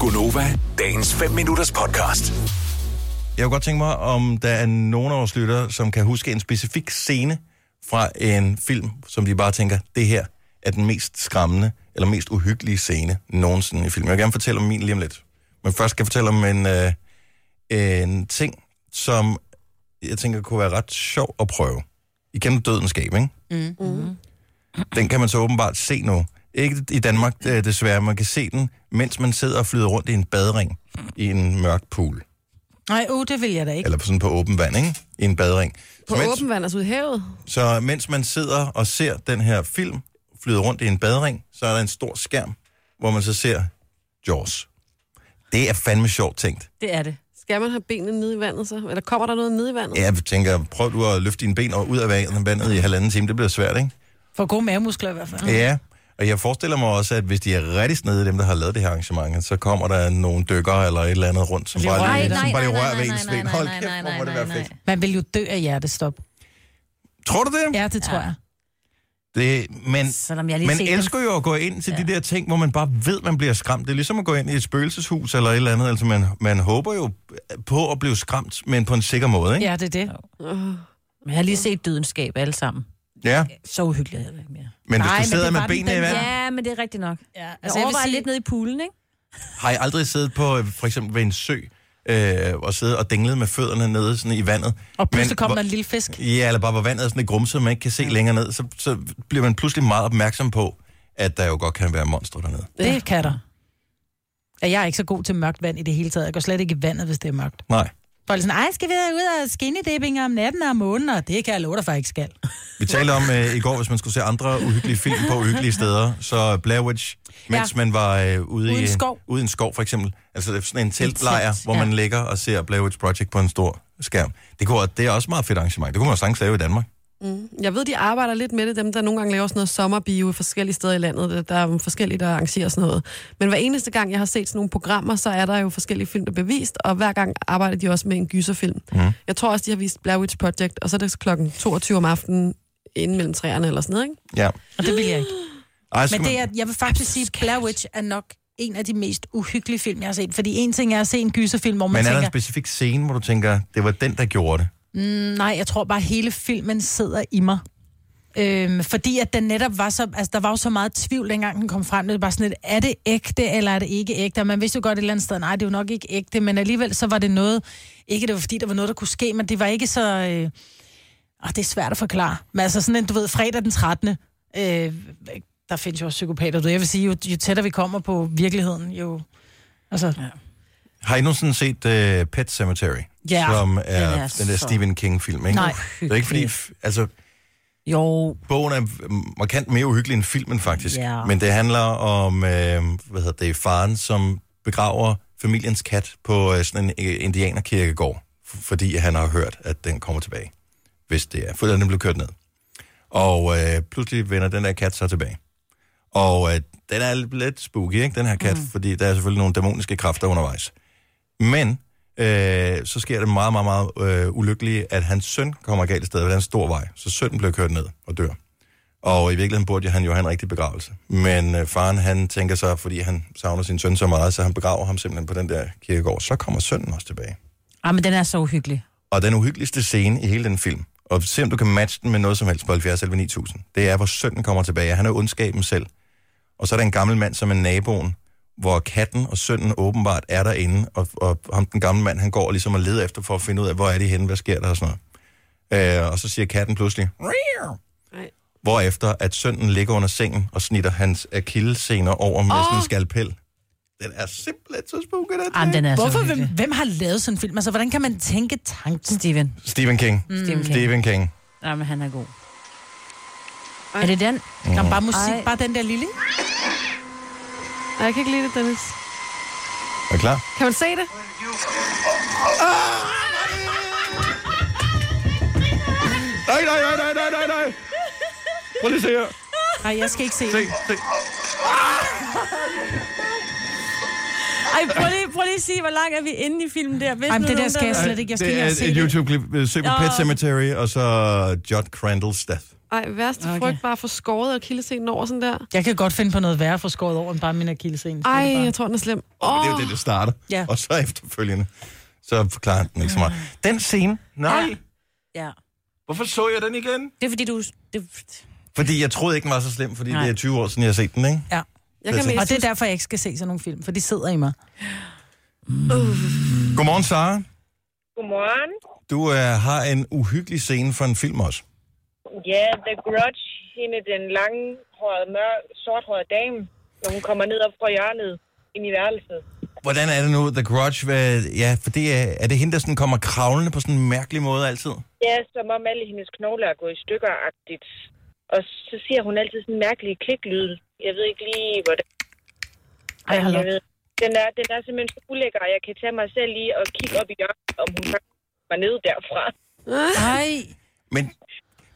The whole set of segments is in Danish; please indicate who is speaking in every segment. Speaker 1: Gunova, dagens 5 minutters podcast.
Speaker 2: Jeg kunne godt tænke mig, om der er nogen af vores lyttere, som kan huske en specifik scene fra en film, som de bare tænker, det her er den mest skræmmende eller mest uhyggelige scene nogensinde i film. Jeg vil gerne fortælle om min lige om lidt. Men først skal jeg fortælle om en, øh, en ting, som jeg tænker kunne være ret sjov at prøve. I kender dødens gab, ikke? Mm. Den kan man så åbenbart se nu. Ikke i Danmark øh, desværre. Man kan se den, mens man sidder og flyder rundt i en badring i en mørk pool.
Speaker 3: Nej, uh, det vil jeg da ikke.
Speaker 2: Eller sådan på åben vand, ikke? I en badring.
Speaker 4: På
Speaker 2: så, mens,
Speaker 4: åben vand, altså ud i havet.
Speaker 2: så mens man sidder og ser den her film flyde rundt i en badring, så er der en stor skærm, hvor man så ser Jaws. Det er fandme sjovt tænkt.
Speaker 3: Det er det.
Speaker 4: Skal man have benene nede i vandet så? Eller kommer der noget nede i vandet?
Speaker 2: Jeg tænker, prøv du at løfte dine ben og ud af vandet- vandet i halvanden time. Det bliver svært, ikke?
Speaker 3: For gode mavemuskler i hvert
Speaker 5: Mm.
Speaker 3: fald.
Speaker 2: Ja, og jeg forestiller mig også, at hvis de er rigtig snede, dem der har lavet det her arrangement, så kommer der nogle dykkere eller et eller andet rundt, som
Speaker 3: Lige rører
Speaker 2: bare
Speaker 3: ved
Speaker 2: lige,
Speaker 3: dig.
Speaker 2: som bare lige
Speaker 5: nej,
Speaker 2: rører ved
Speaker 5: nej,
Speaker 2: ens
Speaker 5: nej,
Speaker 2: ben.
Speaker 5: nej,
Speaker 2: Hold
Speaker 5: nej,
Speaker 2: kæft,
Speaker 5: nej,
Speaker 2: hvor må det
Speaker 5: nej,
Speaker 2: være fedt.
Speaker 5: nej.
Speaker 3: Man vil jo dø af hjertestop.
Speaker 2: Tror du det?
Speaker 3: Ja, det tror jeg.
Speaker 2: det men
Speaker 5: Selvom jeg lige
Speaker 2: man
Speaker 5: ser den.
Speaker 2: elsker jo at gå ind til ja. de der ting, hvor man bare ved, man bliver skræmt. Det er ligesom at gå ind i et spøgelseshus eller et eller andet. Altså, man, man håber jo på at blive skræmt, men på en sikker måde, ikke?
Speaker 3: Ja, det er det.
Speaker 5: Men jeg har lige set dødenskab alle sammen.
Speaker 2: Ja.
Speaker 5: Så uhyggeligt er det ikke mere.
Speaker 2: Men hvis du
Speaker 3: Nej, men det
Speaker 2: sidder
Speaker 3: er
Speaker 2: med
Speaker 3: bare den-
Speaker 2: benene i
Speaker 3: den-
Speaker 2: vandet,
Speaker 5: Ja, men det er rigtigt nok. Altså,
Speaker 3: Ja,
Speaker 5: Jeg
Speaker 3: altså, jeg vil
Speaker 5: overvejer
Speaker 3: sige-
Speaker 5: lidt nede i poolen, ikke?
Speaker 2: Har I aldrig siddet på, øh, for eksempel ved en sø, øh, og siddet og dinglet med fødderne nede sådan i vandet?
Speaker 3: Og pludselig
Speaker 2: Men
Speaker 3: kommer
Speaker 2: hvor-
Speaker 3: der en lille fisk.
Speaker 2: Ja, eller bare hvor vandet er sådan et grumset, man ikke kan se længere ned, så, så bliver man pludselig meget opmærksom på, at der jo godt kan være monstre dernede.
Speaker 3: Det kan der. Ja, jeg er ikke så god til mørkt vand i det hele taget. Jeg går slet ikke i vandet, hvis det er mørkt.
Speaker 2: Nej,
Speaker 3: Folk er sådan, ej, skal vi ud og skinnedebinger om natten og om måneden? Og det kan jeg love dig for, jeg ikke skal.
Speaker 2: vi talte om øh, i går, hvis man skulle se andre uhyggelige film på uhyggelige steder, så Blair Witch, mens ja. man var øh, ude
Speaker 3: Uden
Speaker 2: i
Speaker 3: skov.
Speaker 2: ude i en skov for eksempel, altså det er sådan en teltlejr,
Speaker 5: telt,
Speaker 2: hvor
Speaker 5: ja.
Speaker 2: man ligger og ser Blair Witch Project på en stor skærm. Det, kunne, det er også meget fedt arrangement. Det kunne man jo sagtens lave i Danmark.
Speaker 4: Jeg ved, de arbejder lidt med det, dem der nogle gange laver sådan noget sommerbio i forskellige steder i landet. Der er forskellige, der arrangerer sådan noget. Men hver eneste gang, jeg har set sådan nogle programmer, så er der jo forskellige film, der er bevist, og hver gang arbejder de også med en gyserfilm. Mm.
Speaker 2: Mhm.
Speaker 4: Jeg tror også, de har vist Blair Witch Project, og så er det klokken 22 om aftenen inden mellem træerne eller sådan noget, ikke?
Speaker 2: Ja.
Speaker 3: Og det vil jeg ikke.
Speaker 2: Ej, så
Speaker 3: Men det er, jeg vil faktisk sige, at Blair Witch er nok en af de mest uhyggelige film, jeg har set. Fordi en ting er at se en gyserfilm, hvor man
Speaker 2: men er der en
Speaker 3: tænker,
Speaker 2: specifik scene, hvor du tænker, det var den, der gjorde det?
Speaker 3: Nej, jeg tror bare, hele filmen sidder i mig. Øhm, fordi at den netop var så, altså der var jo så meget tvivl, dengang den kom frem. Det var bare sådan lidt, er det ægte, eller er det ikke ægte? Og man vidste jo godt et eller andet sted, nej, det er jo nok ikke ægte, men alligevel så var det noget, ikke det var fordi, der var noget, der kunne ske, men det var ikke så, øh, og det er svært at forklare. Men altså sådan en, du ved, fredag den 13. Øh, der findes jo også psykopater, du. Jeg vil sige, jo, jo tættere vi kommer på virkeligheden, jo... Altså, ja.
Speaker 2: Har I nogensinde set uh, Pet Cemetery?
Speaker 3: Ja.
Speaker 2: Som er
Speaker 5: Den
Speaker 2: den,
Speaker 5: er
Speaker 2: der
Speaker 5: så-
Speaker 2: Stephen King-film, ikke?
Speaker 3: Nej.
Speaker 2: Det er ikke fordi... f- Altså,
Speaker 5: Jo,
Speaker 2: bogen er mm, markant mere uhyggelig end filmen, faktisk.
Speaker 5: Ja.
Speaker 2: Men det handler om, øh, hvad hedder det, faren, som begraver familiens kat på øh, sådan en øh, indianerkirkegård, f- fordi han har hørt, at den kommer tilbage, hvis det er. For den blev kørt ned. Og øh, pludselig vender den der kat så tilbage. Og øh, den er lidt- lidt spooky, ikke, den her kat, mm. fordi der er selvfølgelig nogle dæmoniske kræfter undervejs. Men øh, så sker det meget, meget, meget øh, ulykkelige, at hans søn kommer galt af sted ved en stor vej. Så sønnen bliver kørt ned og dør. Og i virkeligheden burde han jo have en rigtig begravelse. Men øh, faren, han tænker sig, fordi han savner sin søn så meget, så han begraver ham simpelthen på den der kirkegård. Så kommer sønnen også tilbage.
Speaker 5: ah, men den er så uhyggelig.
Speaker 2: Og den uhyggeligste scene i hele den film, og se om du kan matche den med noget som helst på 70 eller 9000, det er, hvor sønnen kommer tilbage. Han er jo ondskaben selv. Og så er der en gammel mand, som er naboen, hvor katten og sønnen åbenbart er derinde, og, og ham, den gamle mand, han går ligesom og leder efter for at finde ud af, hvor er de henne, hvad sker der og sådan noget. Øh, og så siger katten pludselig, "Meow."
Speaker 4: Nej.
Speaker 2: hvorefter at sønnen ligger under sengen og snitter hans akillesener over med oh. sådan en skalpel. Den er simpelthen så spooket, den.
Speaker 5: Ah, men den er så
Speaker 3: Hvorfor, hvem,
Speaker 5: uhyggelig.
Speaker 3: hvem har lavet sådan en film? Altså, hvordan kan man tænke tanken?
Speaker 5: Steven.
Speaker 2: Stephen King.
Speaker 5: Mm. Stephen King.
Speaker 2: Stephen King.
Speaker 5: Nej, men han er god. Er det den?
Speaker 3: Der er bare musik,
Speaker 5: Ej.
Speaker 3: bare den der lille.
Speaker 4: Nej, jeg kan ikke lide det, Dennis.
Speaker 2: Er du klar?
Speaker 4: Kan man se det?
Speaker 2: Ah! Nej, nej, nej, nej, nej, nej, nej. Prøv lige at se her.
Speaker 3: Nej, jeg skal ikke se
Speaker 2: Se,
Speaker 3: det.
Speaker 2: se.
Speaker 5: Ej, prøv lige, prøv lige lige sige, hvor langt er vi inde i filmen der? Hvis
Speaker 3: Ej, men
Speaker 5: nu
Speaker 3: det der
Speaker 5: nogen,
Speaker 3: skal jeg slet
Speaker 5: ved-
Speaker 3: ikke. Jeg skal
Speaker 2: Det
Speaker 3: lige
Speaker 2: er
Speaker 3: have set
Speaker 2: et
Speaker 3: det.
Speaker 2: YouTube-klip. Øh, Søg på
Speaker 5: Nå.
Speaker 2: Pet Cemetery, og så John Crandall's Death.
Speaker 4: Ej, værste okay.
Speaker 3: Okay.
Speaker 4: frygt bare for skåret og kildescenen over sådan der.
Speaker 3: Jeg kan godt finde på noget værre for skåret over, end bare min akillescene.
Speaker 4: Ej, jeg tror, den er slem.
Speaker 2: Oh. Det er jo
Speaker 4: Åh,
Speaker 2: det, det starter.
Speaker 3: Ja.
Speaker 2: Og så efterfølgende, så forklarer han den ikke så meget.
Speaker 3: Ah.
Speaker 2: Den scene, nej.
Speaker 5: Ja. Ja.
Speaker 2: Hvorfor så jeg den igen?
Speaker 5: Det er fordi, du... Det,
Speaker 2: Fordi jeg troede ikke, den var så slem, fordi nej.
Speaker 3: Nej.
Speaker 2: det er 20 år siden, jeg har set den, ikke?
Speaker 3: Ja.
Speaker 4: jeg kan
Speaker 2: det er
Speaker 3: Og
Speaker 4: mest
Speaker 3: det er derfor, jeg ikke skal se sådan nogle film, for de sidder i mig.
Speaker 2: Godmorgen, Sara.
Speaker 6: Godmorgen.
Speaker 2: Du øh, har en uhyggelig scene fra en film også.
Speaker 6: Ja, The Grudge, hende den lange, hårede, mør, sorthårede dame, når hun kommer ned op fra hjørnet ind i værelset.
Speaker 2: Hvordan er det nu, The Grudge? Hvad, ja, for det er, er det hende, der sådan kommer kravlende på sådan en mærkelig måde altid?
Speaker 6: Ja, som om alle hendes knogler er gået i stykker-agtigt. Og så siger hun altid sådan en mærkelig kliklyd. Jeg ved ikke lige, hvordan
Speaker 3: Ej, hold op.
Speaker 6: jeg ved. Den er, den er simpelthen så ulækker, og jeg kan tage mig selv lige og kigge op i hjørnet, om hun faktisk var nede derfra.
Speaker 3: Ej.
Speaker 2: Men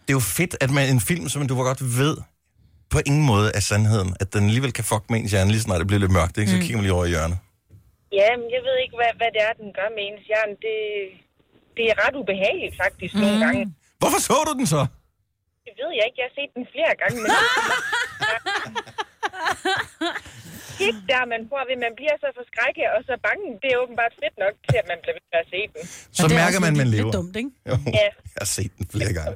Speaker 2: det er jo fedt, at man en film, som du var godt ved, på ingen måde er sandheden, at den alligevel kan fuck med ens hjerne, lige snart det bliver lidt mørkt, ikke? så
Speaker 3: Mm.
Speaker 2: kigger man lige over i hjørnet.
Speaker 6: Ja, men jeg ved ikke, hvad, hvad det er, den gør med ens hjerne. Det, det er ret ubehageligt faktisk mm. nogle gange.
Speaker 2: Hvorfor så du den så?
Speaker 6: Det ved jeg ikke. Jeg har set den flere gange. Men... Ikke der, man får ved. Man bliver så forskrækket og så bange. Det er åbenbart fedt nok til, at man bliver ved med at se den.
Speaker 2: Så mærker man, man
Speaker 3: lidt,
Speaker 2: lever.
Speaker 3: Lidt dumt, ikke?
Speaker 2: Jo, jeg har set den flere gange.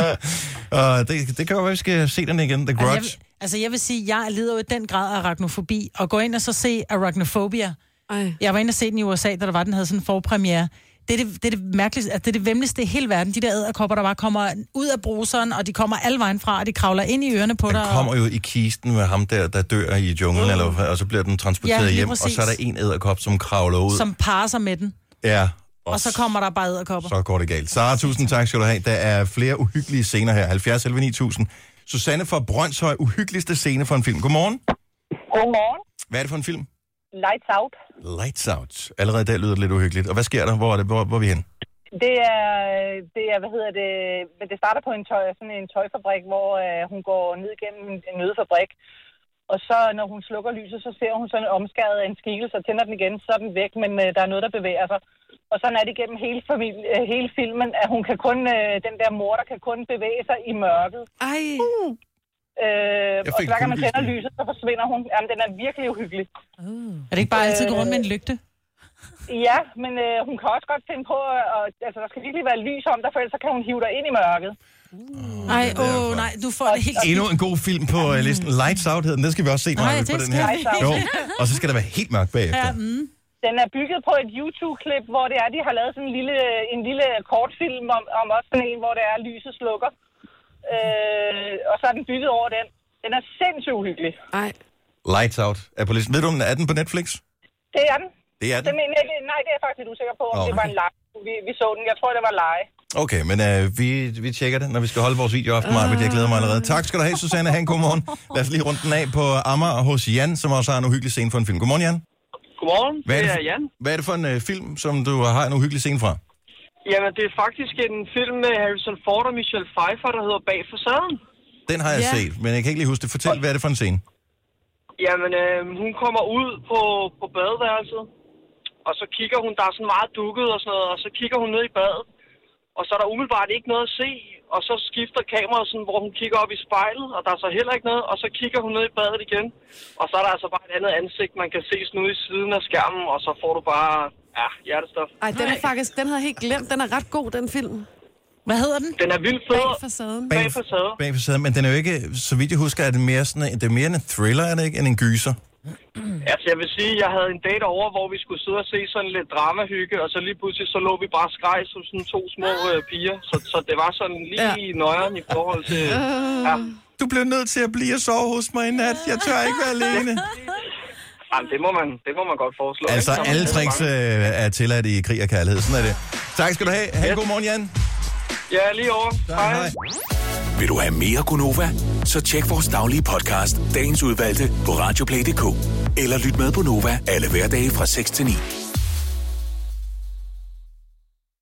Speaker 2: uh, det, det kan jo være, vi skal se den igen, The Grudge.
Speaker 3: Altså, jeg, vil- altså, jeg vil sige, jeg lider jo i den grad af arachnofobi, og gå ind og så se arachnophobia.
Speaker 4: Ej.
Speaker 3: Jeg var inde og se den i USA, da der var, den havde sådan en forpremiere. Det er det, det, er det mærkeligste, altså det er det vemmeligste i hele verden. De der æderkopper, der bare kommer ud af bruseren, og de kommer alle vejen fra, og de kravler ind i ørerne på dig.
Speaker 2: Den kommer jo i kisten med ham der, der dør i junglen, eller, hvad, og så bliver den
Speaker 3: Mm. Ja,
Speaker 2: transporteret
Speaker 3: lige
Speaker 2: hjem, og så er der
Speaker 3: præcis.
Speaker 2: en æderkop, som kravler ud.
Speaker 3: og, som parer sig med den,
Speaker 2: ja,
Speaker 3: og så kommer der bare æderkopper.
Speaker 2: så går det galt. Sara, tusind tak skal du have. Der er flere uhyggelige scener her. 70 11 9000. Susanne fra Brøndshøj, uhyggeligste scene for en film. Godmorgen.
Speaker 6: Godmorgen.
Speaker 2: Hvad er det for en film?
Speaker 6: Lights Out.
Speaker 2: Lights Out. Allerede der lyder det lidt uhyggeligt. Og hvad sker der? Hvor er, det? Hvor, hvor er vi hen?
Speaker 6: Det er, det er, hvad hedder det, men det starter på en tøj, sådan en tøjfabrik, hvor øh, hun går ned gennem en- en nødfabrik. Og så, når hun slukker lyset, så ser hun sådan en omskæret af en skikkelse og tænder den igen, så er den væk, men øh, der er noget, der bevæger sig. Og sådan er det gennem hele, familie, øh, hele filmen, at hun kan kun, øh, den der mor, der kan kun bevæge sig i mørket.
Speaker 4: Ej.
Speaker 3: Uh.
Speaker 6: Øh,
Speaker 2: Jeg
Speaker 6: og
Speaker 2: fik
Speaker 6: så hver gang man tænder
Speaker 2: kuldegysning.
Speaker 6: lyset, så forsvinder hun. Jamen, den er virkelig uhyggelig.
Speaker 3: Er det ikke bare altid gå rundt med en lygte?
Speaker 6: Ja, men øh, hun kan også godt finde på, øh, og, altså der skal virkelig være lys om dig, for ellers så kan hun hive dig ind i mørket.
Speaker 3: Nej,
Speaker 2: er
Speaker 3: åh
Speaker 2: derfor.
Speaker 3: oh, nej, du får det helt...
Speaker 2: Endnu en god film på uh, listen. Lights Out hed den. Den skal vi også se,
Speaker 3: Nej,
Speaker 2: Maja,
Speaker 3: det
Speaker 2: på den
Speaker 3: skal
Speaker 2: her.
Speaker 6: vi ikke.
Speaker 2: Jo. Og så skal der være helt mørkt bagefter.
Speaker 3: Ja, mm.
Speaker 6: Den er bygget på et YouTube-klip, hvor det er, de har lavet sådan en lille, en lille kortfilm om, om også sådan en, hvor det er, at lyset slukker. Øh, og så er den bygget over den. Den er sindssygt uhyggelig.
Speaker 4: Ej.
Speaker 2: Lights Out er på listen. Ved du, om den er den på Netflix?
Speaker 6: Det er den.
Speaker 2: Det er
Speaker 6: Det
Speaker 2: den.
Speaker 6: mener jeg, ikke- nej, det er jeg faktisk lidt usikker på, om
Speaker 2: Nå.
Speaker 6: det var en lege. Vi, vi så den. Jeg tror, det var lege.
Speaker 2: Okay, men øh, vi, vi tjekker det, når vi skal holde vores video aften, Maja, men jeg glæder mig allerede. Tak skal du have, Susanne. Ha' en god morgen. Lad os lige runde den af på Amager hos Jan, som også har en uhyggelig scene for en film. Godmorgen, Jan.
Speaker 7: Godmorgen,
Speaker 2: Hvad er
Speaker 7: det
Speaker 2: det
Speaker 7: er Jan.
Speaker 2: Hvad er det for en øh, film, som du har en uhyggelig scene fra?
Speaker 7: Jamen, det er faktisk en film med Harrison Ford og Michelle Pfeiffer, der hedder Bag facaden.
Speaker 2: Den har jeg
Speaker 4: Ja.
Speaker 2: set, men jeg kan ikke lige huske det. Fortæl, hvad er det for en scene?
Speaker 7: Jamen, øh, hun kommer ud på, på badeværelset, og så kigger hun, der er sådan meget dukket og sådan noget, og så kigger hun ned i badet, og så er der umiddelbart ikke noget at se, og så skifter kameraet sådan, hvor hun kigger op i spejlet, og der er så heller ikke noget, og så kigger hun ned i badet igen, og så er der altså bare et andet ansigt, man kan se sådan ude i siden af skærmen, og så får du bare, ja, hjertestof.
Speaker 4: Ej, den er faktisk, den havde jeg helt glemt. Den er ret god, den film.
Speaker 3: Hvad hedder den?
Speaker 7: Den er vildt fed.
Speaker 4: Bag facaden.
Speaker 7: Bag facaden.
Speaker 2: Bag facaden, men den er jo ikke, så vidt jeg husker, er det mere, sådan, en- det er mere en thriller, er det ikke, end en gyser?
Speaker 7: Altså, jeg vil sige, jeg havde en date over, hvor vi skulle sidde og se sådan lidt dramahygge, og så lige pludselig så lå vi bare og skreg som sådan to små øh, piger. Så, så det var sådan lige ja. nøjeren i forhold til... Ja.
Speaker 2: Du blev nødt til at blive og sove hos mig i nat. Jeg tør ikke være alene.
Speaker 7: Jamen, det må man, det må man godt foreslå.
Speaker 2: Altså,
Speaker 7: ikke? Så
Speaker 2: alle
Speaker 7: man-
Speaker 2: tricks øh, er tilladt i krig og kærlighed. Sådan er det. Tak skal du have. Ha' en god morgen, Jan.
Speaker 7: Ja, lige over. Hej. Hej.
Speaker 1: Vil du have mere Gunova? Så tjek vores daglige podcast, dagens udvalgte, på radioplay.dk. Eller lyt med på Nova alle hverdage fra 6 til 9.